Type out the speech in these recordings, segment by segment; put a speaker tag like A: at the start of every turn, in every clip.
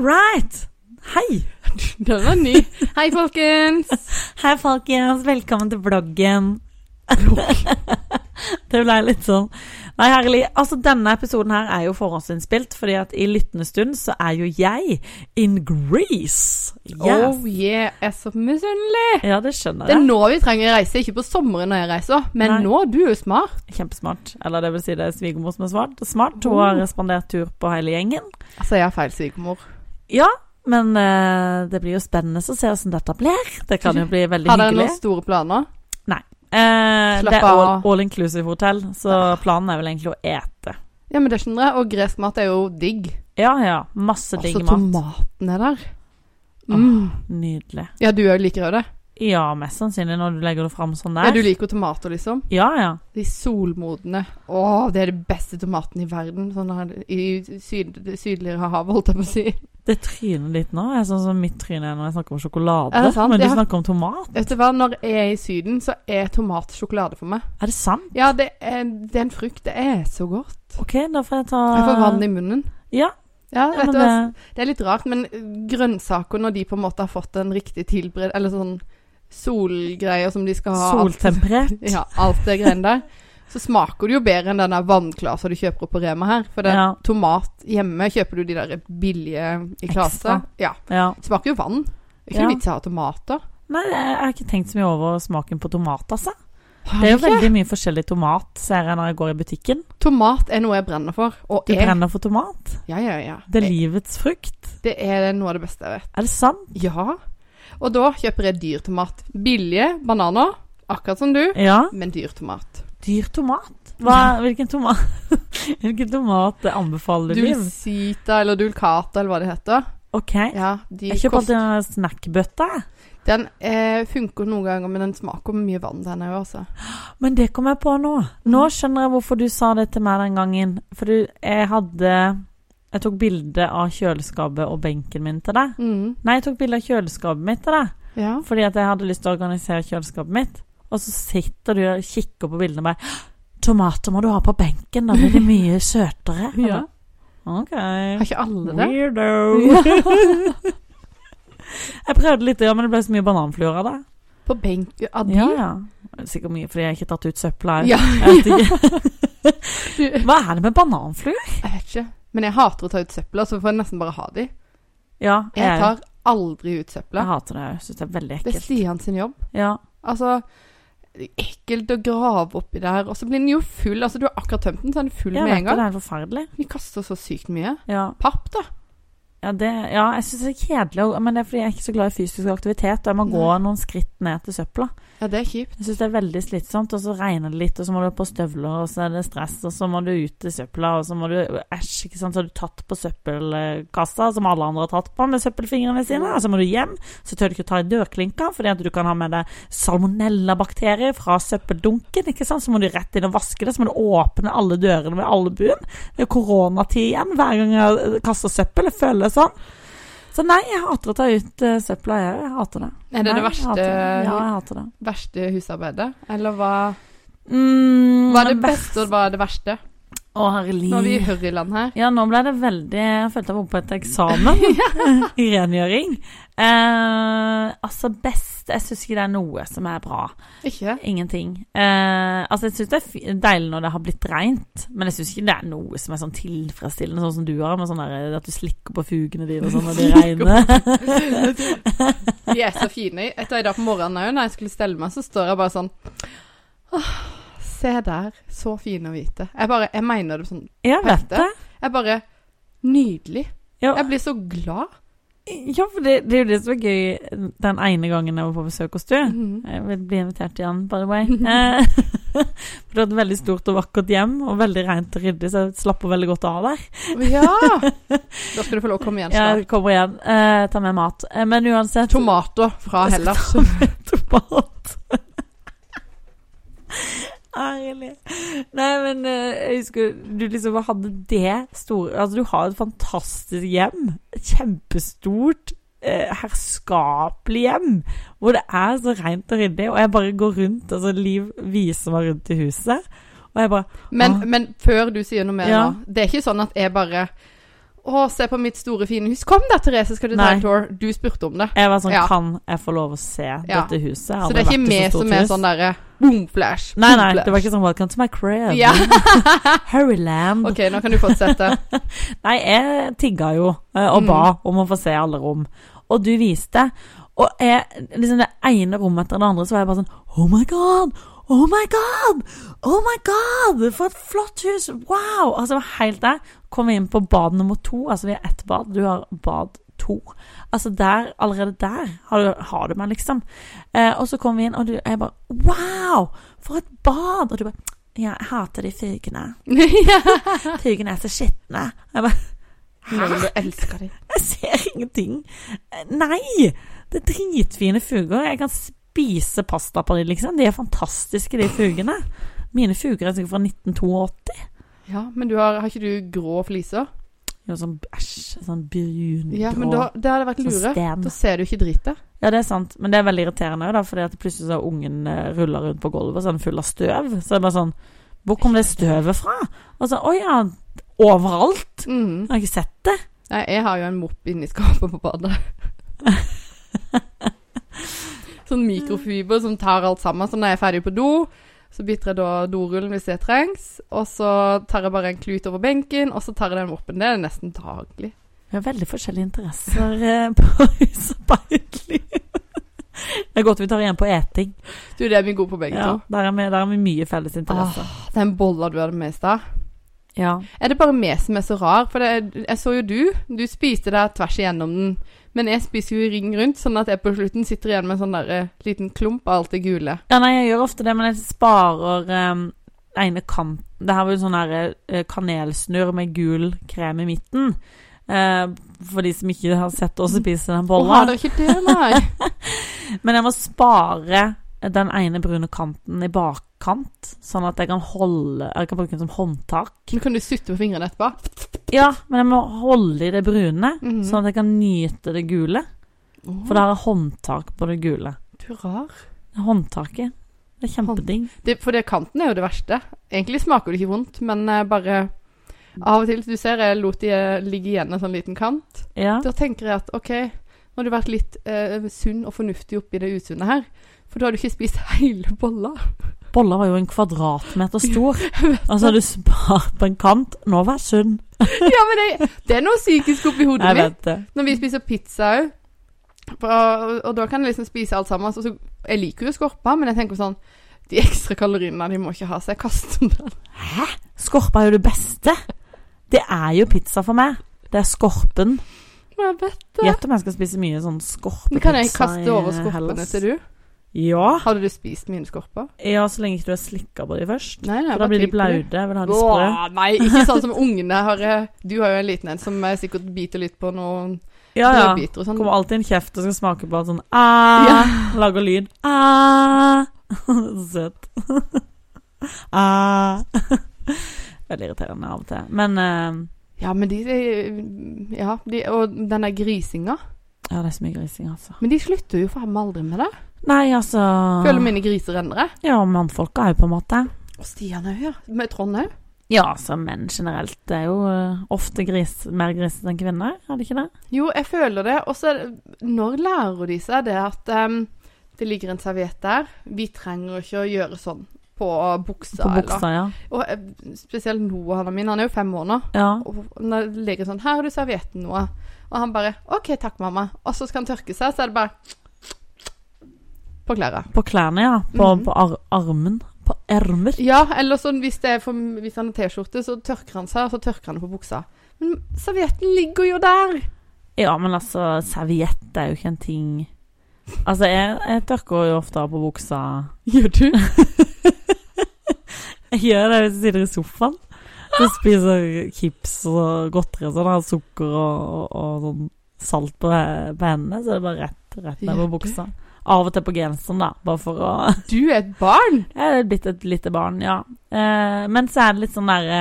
A: right! Hei!
B: Den var ny. Hei, folkens.
A: Hei, folkens. Velkommen til bloggen. det ble litt sånn Nei, herlig. Altså, denne episoden her er jo forhåndsinnspilt, fordi at i lyttende stund så er jo jeg in Greece. Yes.
B: Oh yeah, jeg er så misunnelig.
A: Ja, det
B: Det
A: skjønner
B: er
A: jeg.
B: nå vi trenger reise, ikke på sommeren når jeg reiser. Men
A: Nei.
B: nå, du er jo smart.
A: Kjempesmart. Eller det vil si det er svigermor som er smart. smart. Hun
B: Oh.
A: har respondert tur på hele gjengen.
B: Altså, jeg har feil svigermor.
A: Ja, men eh, det blir jo spennende å se hvordan dette blir. Det kan jo bli veldig
B: Har dere
A: hyggelig.
B: noen store planer?
A: Eh, det
B: Slapp
A: er all,
B: av.
A: all inclusive hotell, så planen er vel egentlig å ete.
B: Ja, men det skjønner jeg. Og gresk mat er jo digg.
A: Ja, ja. Masse digg
B: Altså,
A: mat.
B: tomatene der.
A: Åh.
B: Mm.
A: Nydelig.
B: Ja, du er jo liker jo det.
A: Ja, mest sannsynlig når du legger det fram sånn
B: Ja,
A: der.
B: du liker jo tomater, liksom.
A: Ja, ja.
B: De solmodne. Å, det er de beste tomatene i verden. Sånn her i syd, det sydligere havet, holdt jeg på å si.
A: Det trynet ditt nå er sånn som mitt tryne er når jeg snakker om sjokolade.
B: Er det sant?
A: Men du
B: Ja.
A: snakker om tomat.
B: Vet du hva, når jeg er i Syden, så er tomat sjokolade for meg.
A: Er det sant?
B: Ja, det er, det er en frukt. Det er så godt.
A: OK, da får jeg ta
B: Jeg får vann i munnen.
A: Ah. Ja.
B: Ja,
A: Ja,
B: vet
A: men
B: du hva.
A: det-
B: Det er litt rart, men grønnsaker når de på en måte har fått en riktig tilbered... Eller sånn solgreier som de skal ha alt-
A: Soltemperert.
B: Ja, alt det greiene der. Så smaker det jo bedre enn den der vannklasa du kjøper opp på Rema her. For det
A: Ja.
B: tomat hjemme kjøper du de der billige i klasa.
A: Ekstra.
B: Ja.
A: ja.
B: Smaker jo vann. Det er ikke
A: Ja.
B: noe vits i å ha tomater.
A: Nei, jeg har ikke tenkt så mye over smaken på tomat, altså. Det er jo veldig mye forskjellig tomat, ser jeg når jeg går i butikken.
B: Tomat er noe jeg brenner for. Og
A: Du
B: er.
A: brenner for tomat.
B: Ja, ja, ja.
A: Det er livets frukt.
B: Det er noe av det beste jeg vet.
A: Er det sant?
B: Ja. Og da kjøper jeg dyr tomat. Billige bananer, akkurat som du,
A: Ja.
B: men dyr tomat.
A: Dyr tomat? Hva, hvilken tomat Hvilken tomat anbefaler du? Liv?
B: Dulcita eller dulcata eller hva det heter.
A: Ok.
B: Ja, de
A: Jeg kjøper
B: kost...
A: alltid en snackbøtte.
B: Den eh, funker noen ganger, men den smaker mye vann, den òg, altså.
A: Men det kom jeg på nå. Nå
B: Mm.
A: skjønner jeg hvorfor du sa det til meg den gangen. For du, jeg hadde Jeg tok bilde av kjøleskapet og benken min til deg.
B: Mm,
A: Nei, jeg tok bilde av kjøleskapet mitt til deg.
B: ja.
A: Fordi at jeg hadde lyst til å organisere kjøleskapet mitt. Og så sitter du og kikker på bildene og bare Tomater må du ha på benken, da blir de mye søtere.
B: ja.
A: Ok.
B: Har ikke alle det?
A: Weirdo. jeg prøvde litt, ja, men det ble så mye bananfluer av det.
B: På benk av
A: Ja,
B: dyr?
A: ja. Sikkert mye fordi jeg har ikke tatt ut søpla.
B: Ja.
A: Jeg vet ikke. Hva er det med bananfluer?
B: Jeg vet ikke. Men jeg hater å ta ut søpla, så får jeg nesten bare ha de.
A: Ja,
B: Jeg tar aldri
A: jeg
B: ut søpla.
A: hater det. Jeg syns det er veldig
B: Det er
A: ekkelt.
B: Stian sin jobb.
A: Ja.
B: Altså det er Ekkelt å grave oppi der. Og så blir den jo full. Altså, du har akkurat tømt den, så er den full
A: Jeg
B: med
A: vet
B: en
A: det,
B: gang.
A: det er forferdelig.
B: Vi kaster så sykt mye.
A: Ja,
B: Papp, da.
A: ja, det, ja jeg syns det er kjedelig, og- men det er fordi jeg er ikke så glad i fysisk aktivitet, og jeg må gå noen skritt ned til søpla.
B: Ja, det er kjipt.
A: Jeg syns det er veldig slitsomt, og så regner det litt, og så må du på støvler, og så er det stress, og så må du ut i søpla, og så må du Æsj, ikke sant, så har du tatt på søppelkassa, som alle andre har tatt på med søppelfingrene sine, og så må du hjem, så tør du ikke ta i dørklinka, fordi at du kan ha med deg salmonellabakterier fra søppeldunken, ikke sant, så må du rett inn og vaske det, så må du åpne alle dørene ved albuen. Det er jo koronatid igjen, hver gang jeg kaster søppel, jeg føler det sånn. Så nei, jeg hater å ta ut eh, søpla, jeg, jeg hater det.
B: Er det
A: Nei,
B: det
A: Jeg
B: verste,
A: hater det. Ja, jeg hater det.
B: verste husarbeidet? Eller hva
A: Mm,
B: Hva er det
A: men-
B: beste, og hva er det verste?
A: Å, herlig.
B: Nå er vi i hurryland her.
A: Ja, nå ble det veldig Jeg følte jeg var på et eksamen i rengjøring. Eh, altså, best Jeg syns ikke det er noe som er bra.
B: Ikke?
A: Ingenting. Eh, altså, jeg syns det er fi- deilig når det har blitt reint, men jeg syns ikke det er noe som er sånn tilfredsstillende, sånn som du har, med sånn der, at du slikker på fugene dine og sånn når det regner.
B: De er så fine. Etter i dag på morgenen òg, når jeg skulle stelle meg, så står jeg bare sånn Åh, Se der. Så fine og hvite. Jeg bare Jeg mener det sånn.
A: Jeg vet det.
B: Jeg bare Nydelig.
A: Ja.
B: Jeg blir så glad.
A: Ja, for det, det er jo det som er gøy den ene gangen jeg var på besøk hos du.
B: Mhm.
A: Jeg vil bli invitert igjen, by the way. Eh, For du hadde et veldig stort og vakkert hjem, og veldig rent og ryddig, så jeg slapper veldig godt av der.
B: Ja! Da skal du få lov å komme igjen snart.
A: Jeg kommer igjen, eh, tar med mat. Eh, Men uansett
B: Tomater fra
A: Jeg skal
B: Hellas.
A: ta med tomat. Ærlig. Nei, men eh, jeg husker du liksom bare hadde det store Altså, du har et fantastisk hjem. Et Kjempestort, eh, herskapelig hjem. Hvor det er så rent og ryddig. Og jeg bare går rundt, altså Liv viser meg rundt i huset. Og jeg bare
B: Men,
A: Ah.
B: men før du sier noe mer
A: Ja.
B: nå, det er ikke sånn at jeg bare Å, se på mitt store, fine hus. Kom da, Therese, skal du ta
A: Nei.
B: en tour? Du spurte om det.
A: Jeg var sånn
B: Ja.
A: Kan jeg få lov å se dette huset? Jeg har
B: Så
A: aldri
B: det er ikke vi
A: vært i så
B: som
A: stort
B: er
A: hus.
B: sånn derre boom flash.
A: Nei, nei, det var ikke sånn Welcome to my crib.
B: Ja.
A: Hurryland.
B: OK, nå kan du fortsette.
A: Nei, jeg tigga jo eh, og
B: Mm.
A: ba om å få se alle rom. Og du viste. Og jeg, liksom det ene rommet etter det andre, så var jeg bare sånn Oh my god! Oh my god! Oh my god! For et flott hus! Wow! Altså, det var helt der. Kom inn på bad nummer to. Altså, vi har ett bad. Du har bad to. Altså, der, allerede der har du, har du meg, liksom. Eh, og så kom vi inn, og du, jeg bare Wow! For et bad! Og du bare Ja, jeg hater de fugene.
B: ja.
A: Fugene er så skitne. Jeg bare
B: Men du elsker dem.
A: jeg ser ingenting. Eh, Nei! Det er dritfine fuger. Jeg kan spise pasta på dem, liksom. De er fantastiske, de fugene. Mine fuger er sikkert fra 1982.
B: Ja, men du har, har ikke du grå fliser?
A: De var sånn æsj, sånn brungrå
B: Ja, men da, det hadde vært
A: sånn
B: lure.
A: sten.
B: Da ser du ikke dritet.
A: Ja, det er sant. Men det er veldig irriterende òg, fordi at plutselig så har ungen eh, rulla rundt på gulvet så er den full av støv. Så det er bare sånn Hvor kom det støvet fra? Og så Å ja, overalt.
B: Mm.
A: Jeg har ikke sett det.
B: Nei, jeg har jo en mopp inni skapet på badet. sånn mikrofiber som tar alt sammen. Så når jeg er ferdig på do, så bytter jeg da dorullen hvis det trengs. Og så tar jeg bare en klut over benken, og så tar jeg den moppen. Det er nesten daglig.
A: Vi har veldig forskjellige interesser eh, på husarbeidliv. Det er godt vi tar igjen på eting.
B: Du, det er vi gode på begge
A: Ja,
B: to.
A: der, er vi, der er vi mye felles interesser.
B: Den bolla du hadde med i stad.
A: Ja.
B: Er det bare meg som er så rar? For det, jeg så jo du. Du spiste deg tvers igjennom den. Men jeg spiser jo i ring rundt, sånn at jeg på slutten sitter igjen med en sånn der, eh, liten klump av alt det gule.
A: ja, nei, jeg gjør ofte det, men jeg sparer um, ene kanten. Det her var jo sånn her eh, kanelsnurr med gul krem i midten. Eh, for de som ikke har sett oss spise den
B: Å, har
A: bolla.
B: dere ikke det, nei?
A: Men jeg må spare den ene brune kanten i bakkant, sånn at jeg kan holde Jeg kan bruke den som håndtak.
B: Men kan du sutte på fingrene etterpå?
A: Ja, men jeg må holde i det brune,
B: Mhm.
A: sånn at jeg kan nyte det gule. For det her er håndtak på det gule.
B: Du er rar.
A: Håndtaket. Det er kjempedigg.
B: Det, for det kanten er jo det verste. Egentlig smaker det ikke vondt, men eh, bare Av og til, du ser jeg lot de eh, ligge igjen en sånn liten kant.
A: Ja.
B: Da tenker jeg at OK, nå har du vært litt eh, sunn og fornuftig oppi det usunne her. For da har du ikke spist hele bolla.
A: Bolla var jo en kvadratmeter stor, og så har du spart på en kant. Nå vær sunn.
B: ja, men det, det er noe psykisk oppi hodet
A: Jeg
B: mitt.
A: vet det.
B: Når vi spiser pizza òg, og, og da kan jeg liksom spise alt sammen. Så, så, jeg liker jo skorpa, men jeg tenker sånn De ekstra kaloriene de må ikke ha, så jeg kaster den.
A: Skorpe er jo det beste. Det er jo pizza for meg. Det er skorpen.
B: Men jeg vet det.
A: Gjett om jeg skal spise mye sånn
B: Men
A: skorpepizza
B: kan jeg kaste over
A: i
B: skorpene
A: Hellas.
B: til du?
A: Ja.
B: Hadde du spist mine skorper?
A: ja, så lenge ikke du har slikka på de først.
B: Nei, nei,
A: For da blir de blaute. Jeg vil ha de sprø.
B: nei, ikke sånn som ungene har eh, Du har jo en liten en som eh, sikkert biter litt på noen
A: Ja, ja.
B: brødbiter og sånn.
A: Kommer alltid en kjeft og skal smake på alt sånn ah, Lager lyd. Ah. Søt. ah. Veldig irriterende av og til. Men eh,
B: Ja, men de de- Ja, de, og den der grisinga.
A: Ja, det er så mye grising, altså.
B: Men de slutter jo faen meg aldri med det.
A: Nei, altså
B: Føler mine griser endre.
A: Ja, mannfolka er jo på en måte
B: Og Stian òg, ja. Med Trond òg.
A: Ja, altså menn generelt. Det er jo eh, ofte gris, mer grisete enn kvinner, er det ikke det?
B: Jo, jeg føler det. Og så er det- Når lærer de seg det at em, det ligger en serviett der, vi trenger ikke å gjøre sånn på buksa,
A: På
B: eller
A: buksa, ja.
B: Og eh, spesielt Noah, han er min, han er jo fem år nå.
A: ja.
B: Og når det ligger sånn 'Her har du servietten, Noah.' Og han bare 'OK, takk, mamma.' Og så skal han tørke seg, så er det bare På klærne.
A: På klærne, ja. På,
B: Mhm.
A: på ar armen. På ermer.
B: Ja, eller sånn hvis, det er for, hvis han har T-skjorte, så tørker han seg, og så tørker han det på buksa. Men servietten ligger jo der!
A: Ja, men altså, serviett er jo ikke en ting Altså, jeg, jeg tørker jo ofte av på buksa
B: Gjør du?
A: Jeg gjør det hvis jeg sitter i sofaen. Så spiser jeg chips og godteri og sånn, har sukker og, og, og sånn salt på, på hendene, så er det bare rett, rett ned på
B: Gjør du?
A: buksa. Av og til på genseren, da, bare for å
B: Du er et barn!
A: Jeg er blitt et lite barn, ja. Eh, men så er det litt sånn derre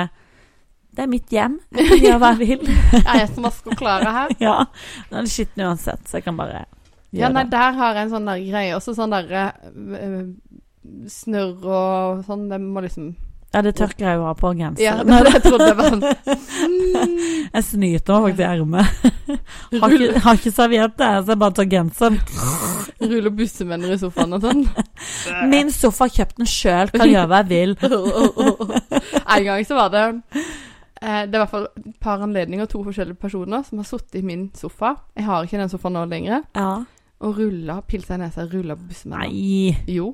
A: Det er mitt hjem, jeg kan gjøre hva jeg vil.
B: Jeg er jeg som vasker klærne her.
A: ja. Nå er det skitten uansett, så jeg kan bare gjøre
B: Ja, nei,
A: det.
B: der har jeg en eh, sånn der greie. Også sånn derre øh, Snørr og sånn. Det må liksom
A: Ja, det tørker jeg jo av på
B: Ja,
A: genseren.
B: det var det jeg trodde var sånn.
A: Jeg snyter meg faktisk i ermet. Har ikke, har ikke serviette, så jeg bare tar genseren.
B: Ruller bussemenner i sofaen og sånn.
A: Min sofa har kjøpt den sjøl, kan gjøre hva jeg vil.
B: En gang så var det eh, Det er i hvert fall et par anledninger, to forskjellige personer, som har sittet i min sofa. Jeg har ikke den sofaen nå lenger.
A: Ja.
B: Og rulla, pilsa i nesa, rulla på bussemenner.
A: Nei.
B: Jo.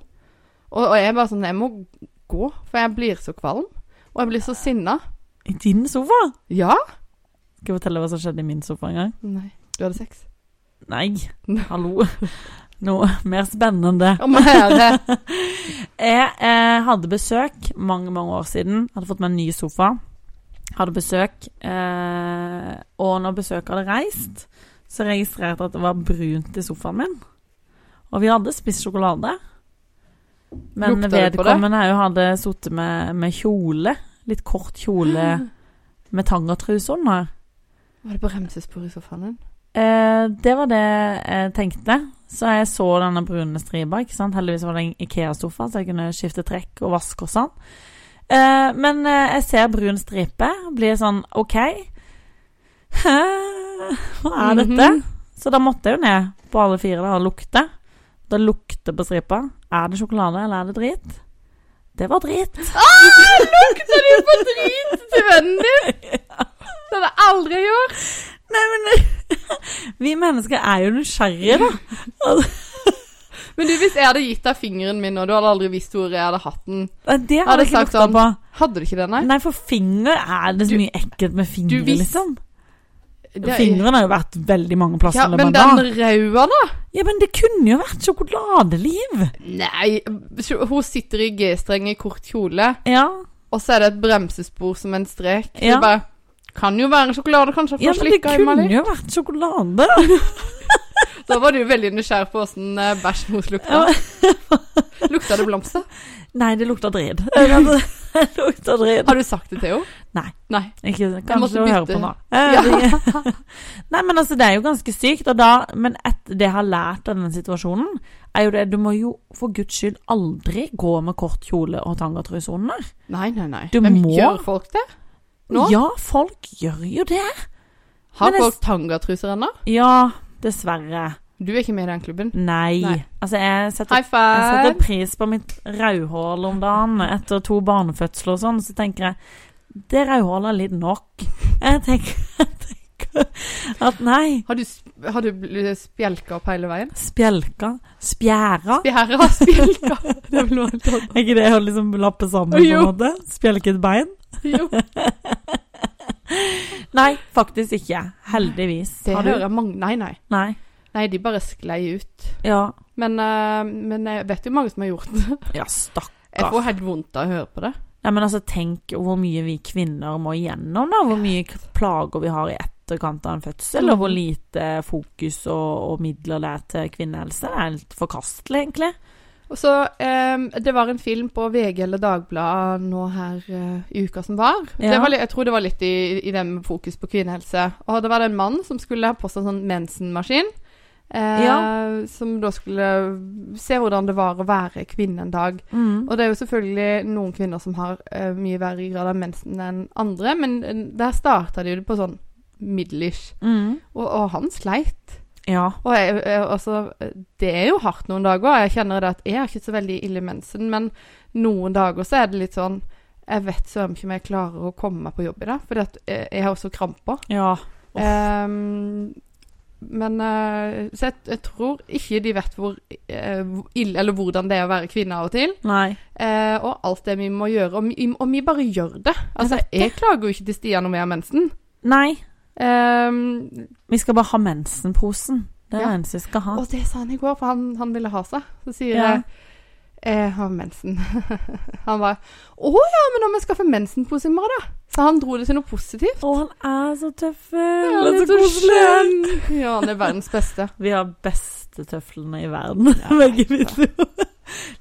B: Og, og jeg bare sånn Jeg må gå, for jeg blir så kvalm. Og jeg blir så sinna.
A: I din sofa?
B: Ja?
A: Skal jeg fortelle hva som skjedde i min sofa en gang?
B: Nei. Du hadde sex.
A: Nei. Hallo. Noe mer spennende enn det.
B: Å, men herre.
A: Jeg eh, hadde besøk mange, mange år siden. Hadde fått meg en ny sofa. Hadde besøk. Eh, og når besøket hadde reist, så registrerte jeg at det var brunt i sofaen min. Og vi hadde spist sjokolade. Men
B: Lukta det på det?
A: vedkommende òg hadde sittet med, med kjole. Litt kort kjole med tangertruse under.
B: Var det på remsespor i sofaen din?
A: Eh, det var det jeg tenkte. Så jeg så denne brune stripa. ikke sant? Heldigvis var det en Ikea-sofa, så jeg kunne skifte trekk og vaske og sånn. Eh, men eh, jeg ser brun stripe, blir sånn OK. Hæ? Hva er dette?
B: Mhm.
A: Så da måtte jeg jo ned på alle fire da, og lukte. Da lukter på stripa. Er det sjokolade, eller er det drit? Det var drit.
B: Ah, lukter du på drit til vennen din? Det hadde jeg aldri gjort.
A: Nei, men Vi mennesker er jo nysgjerrige, da.
B: Men du, hvis jeg hadde gitt deg fingeren min, og du hadde aldri visst hvor jeg hadde hatt den
A: Det har
B: Hadde
A: jeg ikke
B: sagt
A: lukta
B: sånn,
A: på.
B: Hadde du ikke den, nei?
A: Nei, for finger er det så
B: Du-
A: mye ekkelt med fingre,
B: Du visste-
A: liksom.
B: Det er-
A: Fingrene har jo vært veldig mange plasser.
B: Ja,
A: i løpet
B: men
A: av dagen.
B: den røde, da?
A: ja, men det kunne jo vært sjokoladeliv.
B: Nei, hun sitter i G-streng i kort kjole,
A: Ja,
B: og så er det et bremsespor som en strek.
A: Ja.
B: Ja. Det bare Kan jo være sjokolade, kanskje.
A: ja men det kunne
B: jo.
A: jo vært sjokolade. da.
B: Da var du veldig nysgjerrig på åssen bæsjen hennes lukta. lukta det blomster?
A: Nei, det lukta drit. Det lukta drit.
B: Har du sagt det til henne?
A: Nei.
B: Nei.
A: Ikke,
B: måtte
A: kanskje hun hører
B: bytte.
A: på nå. Eh,
B: Ja.
A: det- Nei, men altså, det er jo ganske sykt. Og da, men etter det jeg har lært av denne situasjonen, er jo det Du må jo for guds skyld aldri gå med kort kjole og tangatruse under.
B: Nei, nei, nei.
A: Du
B: Men
A: må.
B: Gjør folk det? Nå?
A: Ja, folk gjør jo det.
B: Har
A: Men jeg-
B: folk tangatruser ennå?
A: Ja, dessverre.
B: Du er ikke med i den klubben.
A: Nei.
B: Nei.
A: Altså, jeg setter, jeg
B: High five!
A: setter pris på mitt rødhål om dagen etter to barnefødsler og sånn, så tenker jeg det rødhålet er litt nok. Jeg tenker, jeg tenker at nei.
B: Har du, sp- har du bl- spjelka opp hele veien?
A: Spjelka. Spjæra.
B: Spjæra har spjelka! Det vil være litt
A: Er ikke det å liksom lappe sammen på en
B: Jo.
A: måte? Spjelke et bein?
B: rart. Jo.
A: Nei, faktisk ikke. Heldigvis.
B: Det
A: Har
B: hører
A: du?
B: jeg mange Nei, nei.
A: Nei.
B: Nei, de bare sklei ut.
A: Ja.
B: Men, eh, men jeg vet jo mange som har gjort det.
A: Ja, stakk.
B: Jeg får helt vondt av å høre på det.
A: Nei, men altså, tenk hvor mye vi kvinner må igjennom, da. Hvor mye k- plager vi har i etterkant av en fødsel, og
B: Mm.
A: hvor lite fokus og, og midler det er til kvinnehelse. Det er helt forkastelig, egentlig.
B: Og så, eh, Det var en film på VG eller Dagbladet nå her eh, i uka som var.
A: Ja.
B: Det var. li- Jeg tror det var litt i, i det med fokus på kvinnehelse. Og det var det en mann som skulle ha på seg en sånn mensenmaskin. Eh, Som da skulle se hvordan det var å være kvinne en dag.
A: Mm.
B: Og det er jo selvfølgelig noen kvinner som har eh, mye verre grad av mensen enn andre, men eh, der starta de jo på sånn middelish.
A: Mm.
B: Og, og han sleit.
A: Ja.
B: Og jeg, jeg, altså, det er jo hardt noen dager. og Jeg kjenner det at jeg har ikke så veldig ille mensen, men noen dager så er det litt sånn Jeg vet søren ikke om jeg klarer å komme meg på jobb i dag, for jeg jeg har også kramper.
A: Ja. Uff.
B: Ehm, men eh, Så jeg, jeg tror ikke de vet hvor eh, hvor ille Eller hvordan det er å være kvinne av og til.
A: Nei.
B: Eh, og alt det vi må gjøre. Og vi, og vi bare gjør det. Altså, jeg klager jo ikke til Stian om jeg har mensen.
A: Nei.
B: Ehm,
A: Vi skal bare ha mensenposen. Det er
B: Ja.
A: det eneste vi skal ha.
B: og det sa han i går, for han, han ville ha seg. Så sier
A: Ja.
B: jeg jeg har mensen. han bare 'Å ja, men om jeg skaffer mensenpose i morgen, da?' Så han dro det til noe positivt.
A: Å, han er så tøffel!
B: Ja,
A: Han er så koselig!
B: skjønn. Ja, han er verdens beste.
A: Vi har beste tøflene i verden, begge vi to.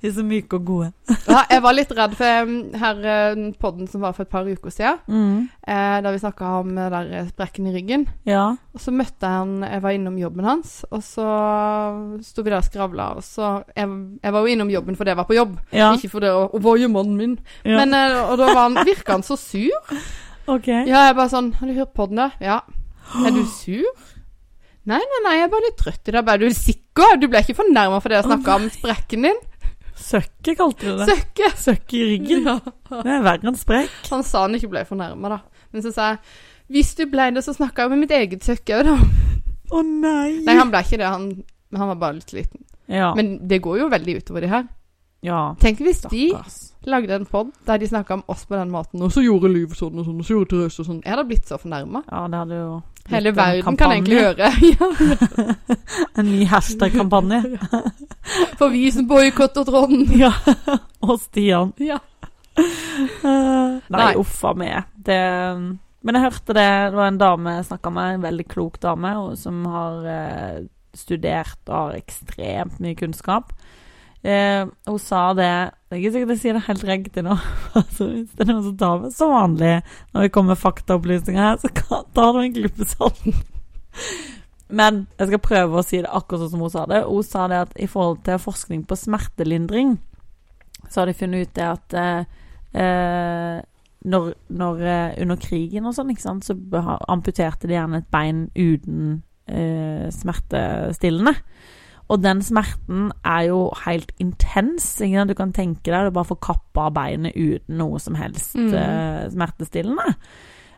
A: De er så myke og gode.
B: Ja, jeg var litt redd for eh, her eh, podden som var for et par uker siden,
A: Mm.
B: eh, da vi snakka om eh, der eh, sprekken i ryggen.
A: Ja.
B: Og så møtte jeg han Jeg var innom jobben hans, og så sto vi der og skravla. Og så jeg, jeg var jo innom jobben fordi jeg var på jobb,
A: ja.
B: ikke fordi å, å voie mannen min.
A: ja.
B: Men, eh, og da var han, virka han så sur.
A: OK.
B: Ja, jeg bare sånn Har du hørt på den, da? Ja. Er du sur? Nei, nei, nei, jeg er bare litt trøtt i dag. Bare, Er du sikker? Du ble ikke fornærma fordi jeg snakka om sprekken din?
A: Søkke kalte du det.
B: Søkke!
A: Søkke i ryggen.
B: Ja.
A: Det er verre enn sprekk.
B: Han sa han ikke ble fornærma, da. Men så sa jeg Hvis du ble det, så snakka jeg med mitt eget søkke òg, da.
A: Å nei.
B: Nei, han ble ikke det. Han, han var bare litt liten.
A: Ja.
B: Men det går jo veldig utover de her.
A: ja.
B: Tenk hvis
A: Stakkars.
B: de lagde en pod der de snakka om oss på den måten, og så gjorde Liv sånn og sånn, og så gjorde Therese og sånn. Jeg hadde blitt så fornærma.
A: Ja, det hadde jo blitt
B: Hele
A: en
B: verden kan
A: kampanje.
B: egentlig høre. Ja,
A: En ny hashtag-kampanje.
B: For vi som boikotter Trond.
A: ja. Og Stian.
B: Ja.
A: Eh, nei,
B: Nei.
A: uffa meg. Det Men jeg hørte det Det var en dame jeg snakka med, en veldig klok dame, og som har eh, studert og har ekstremt mye kunnskap. Eh, hun sa det Det er ikke sikkert jeg sier det helt riktig nå. altså, hvis det er noen som tar meg som vanlig når det kommer faktaopplysninger her, så kan- tar du en glippe salt. Men jeg skal prøve å si det akkurat sånn som hun sa det. Hun sa det at i forhold til forskning på smertelindring, så har de funnet ut det at eh, eh, når, når, eh, under krigen og sånn, ikke sant, så beha- amputerte de gjerne et bein uten eh, smertestillende. Og den smerten er jo helt intens. Ikke sant? Du kan tenke deg du bare får kappa av beinet uten noe som helst
B: Mhm.
A: eh, smertestillende.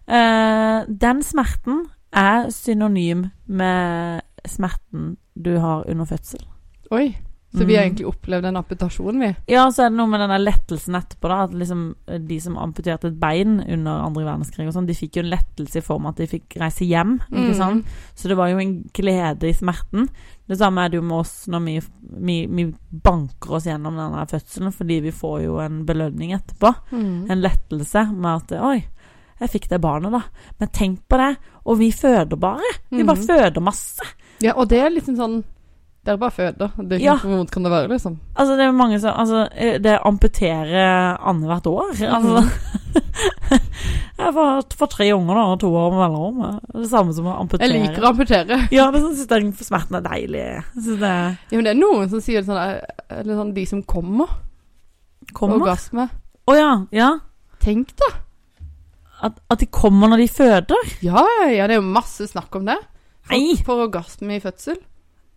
A: Eh, den smerten er synonym med smerten du har under fødsel.
B: Oi. Så vi har
A: Mm.
B: egentlig opplevd en amputasjon, vi.
A: Ja, så er det noe med den der lettelsen etterpå, da. At liksom eh, de som amputerte et bein under andre verdenskrig og sånn, de fikk jo en lettelse i form av at de fikk reise hjem,
B: Mm.
A: ikke sant. Så det var jo en glede i smerten. Det samme er det jo med oss når vi, vi, vi banker oss gjennom denne fødselen, fordi vi får jo en belønning etterpå.
B: Mm.
A: En lettelse med at Oi, jeg fikk det barnet, da. Men tenk på det. Og vi føder bare. Vi bare
B: Mhm.
A: føder masse.
B: Ja, og det er liksom sånn Dere bare føder. Det er ikke
A: Ja.
B: Hvor vondt kan det være, liksom?
A: Altså, det er mange som Altså, eh, det amputerer annethvert år.
B: Mm.
A: Altså. jeg får, får tre unger da, og to år med mellomrom. Det er Det samme som å amputere.
B: Jeg liker å amputere.
A: Ja, det er sånn, synes den smerten er deilig. Jeg Synes det
B: Ja, men det er noen som sier det sånn eh, Eller sånn de som kommer.
A: kommer. Å
B: Orgasme.
A: ja. ja.
B: Tenk, da.
A: At, at de kommer når de føder.
B: Ja, ja, ja, det er jo masse snakk om det.
A: Nei!
B: Folk får orgasme i fødsel.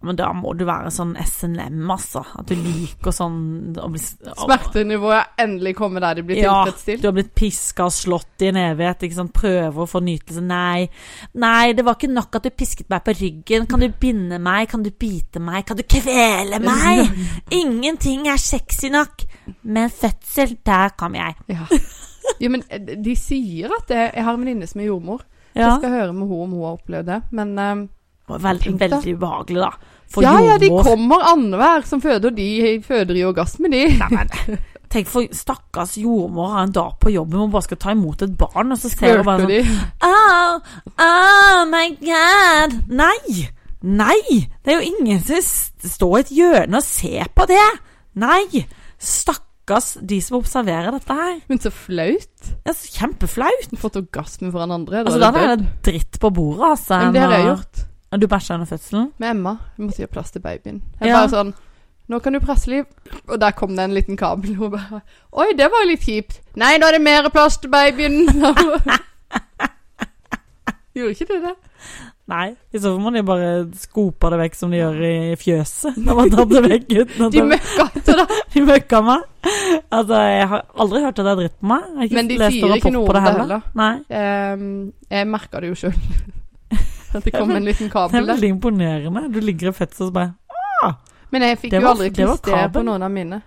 A: Men da må du være sånn SNM, altså. At du liker sånn å bli
B: Smertenivået endelig kommer der det blir
A: Ja,
B: tilfredsstilt.
A: Du har blitt piska og slått i en evighet. Ikke sant? Prøver å få nytelse. Nei. Nei, det var ikke nok at du pisket meg på ryggen. Kan du binde meg? Kan du bite meg? Kan du kvele meg? Ingenting er sexy nok. Men fødsel, der kom jeg.
B: Ja. Jo, men eh, de sier at det Jeg har en venninne som er jordmor.
A: Ja.
B: Jeg skal høre med henne om hun har opplevd det. Men eh,
A: Veldig,
B: Tenk da.
A: veldig ubehagelig, da. For
B: ja, ja, de
A: jordmor.
B: kommer annenhver som føder. De føder i orgasme, de.
A: Nei, men, Tenk for stakkars jordmor har en dag på jobben hvor hun bare skal ta imot et barn, og så ser hun bare
B: Hørte
A: sånn
B: de.
A: Oh, oh my god. Nei! Nei! Det er jo ingen som s- står i et hjørne og ser på det. Nei! Stakkars de som observerer dette her.
B: Men så flaut.
A: Det er så kjempeflaut.
B: Du har fått orgasme foran andre.
A: Altså,
B: da
A: da er
B: er det død.
A: det dritt på bordet, altså.
B: Men det har jeg
A: når-
B: gjort
A: når Du bæsja under fødselen?
B: med Emma. Vi måtte gjøre plass til babyen. Jeg
A: Ja.
B: bare sånn Nå kan du presse liv. Og der kom det en liten kabel. Hun bare Oi, det var litt kjipt. Nei, nå er det mer plass til babyen. Gjorde ikke du det?
A: Nei. I så fall må de bare skope det vekk som de gjør i fjøset. Når man tar det vekk uten at
B: De
A: de,
B: møkka etter det.
A: de møkker meg. Altså, jeg har aldri hørt at det er dritt på meg. Jeg har ikke
B: Men de
A: lest
B: sier
A: noen
B: ikke
A: rapport på
B: noe om det
A: det heller.
B: heller.
A: Nei.
B: Ehm, jeg merka det jo sjøl. At det kom en liten
A: Det er
B: kabel der.
A: veldig imponerende. Du ligger i fødsel og så bare
B: Men jeg fikk
A: Det
B: jo
A: var-
B: aldri
A: det var
B: klister på
A: kabel.
B: noen av mine.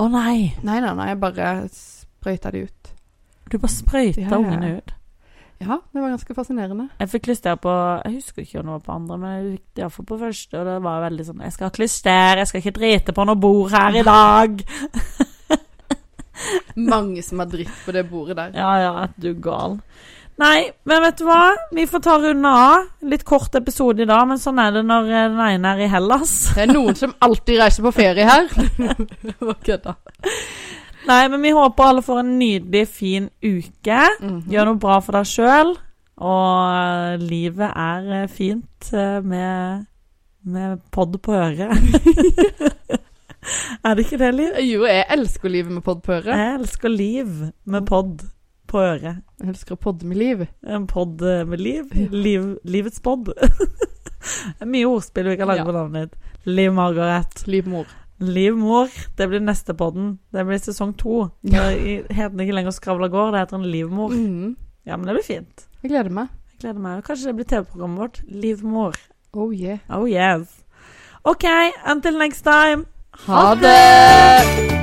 A: Å nei!
B: Nei, nei, nei, jeg bare sprøyta de ut.
A: Du bare sprøyta
B: Ja, ja.
A: ungene ut.
B: Ja, det var ganske fascinerende.
A: Jeg fikk klyster på Jeg husker ikke om det var på andre, men jeg fikk det iallfall på første. Og det var veldig sånn Jeg skal ha klyster, jeg skal ikke drite på noe bord her i dag.
B: Mange som har dritt på det bordet der.
A: Ja ja, er du gal. Nei, men vet du hva? Vi får ta runde av. Litt kort episode i dag, men sånn er det når eh, den ene er i Hellas.
B: Det er noen som alltid reiser på ferie her. Hva kødda.
A: Nei, men vi håper alle får en nydelig, fin uke.
B: Mhm.
A: Gjør noe bra for deg sjøl. Og eh, livet er eh, fint eh, med, med pod på øret. er det ikke det, Liv?
B: Jo, jeg elsker livet med podd på øret.
A: Jeg elsker liv med pod på øret.
B: Jeg elsker å podde med liv.
A: En pod med liv. liv livets pod. Det er Mye ordspill vi kan lage
B: Ja.
A: på navnet ditt. Liv Margaret.
B: Livmor.
A: Liv mor. Det blir neste podden. Det blir sesong to.
B: Ja.
A: Det heter den ikke lenger Skravla gård, det heter den Livmor.
B: Mhm.
A: Ja, men det blir fint.
B: Jeg gleder meg.
A: Jeg gleder meg. Og Kanskje det blir TV-programmet vårt. Livmor.
B: Oh yeah.
A: Oh yes. OK, until next time.
B: Ha det!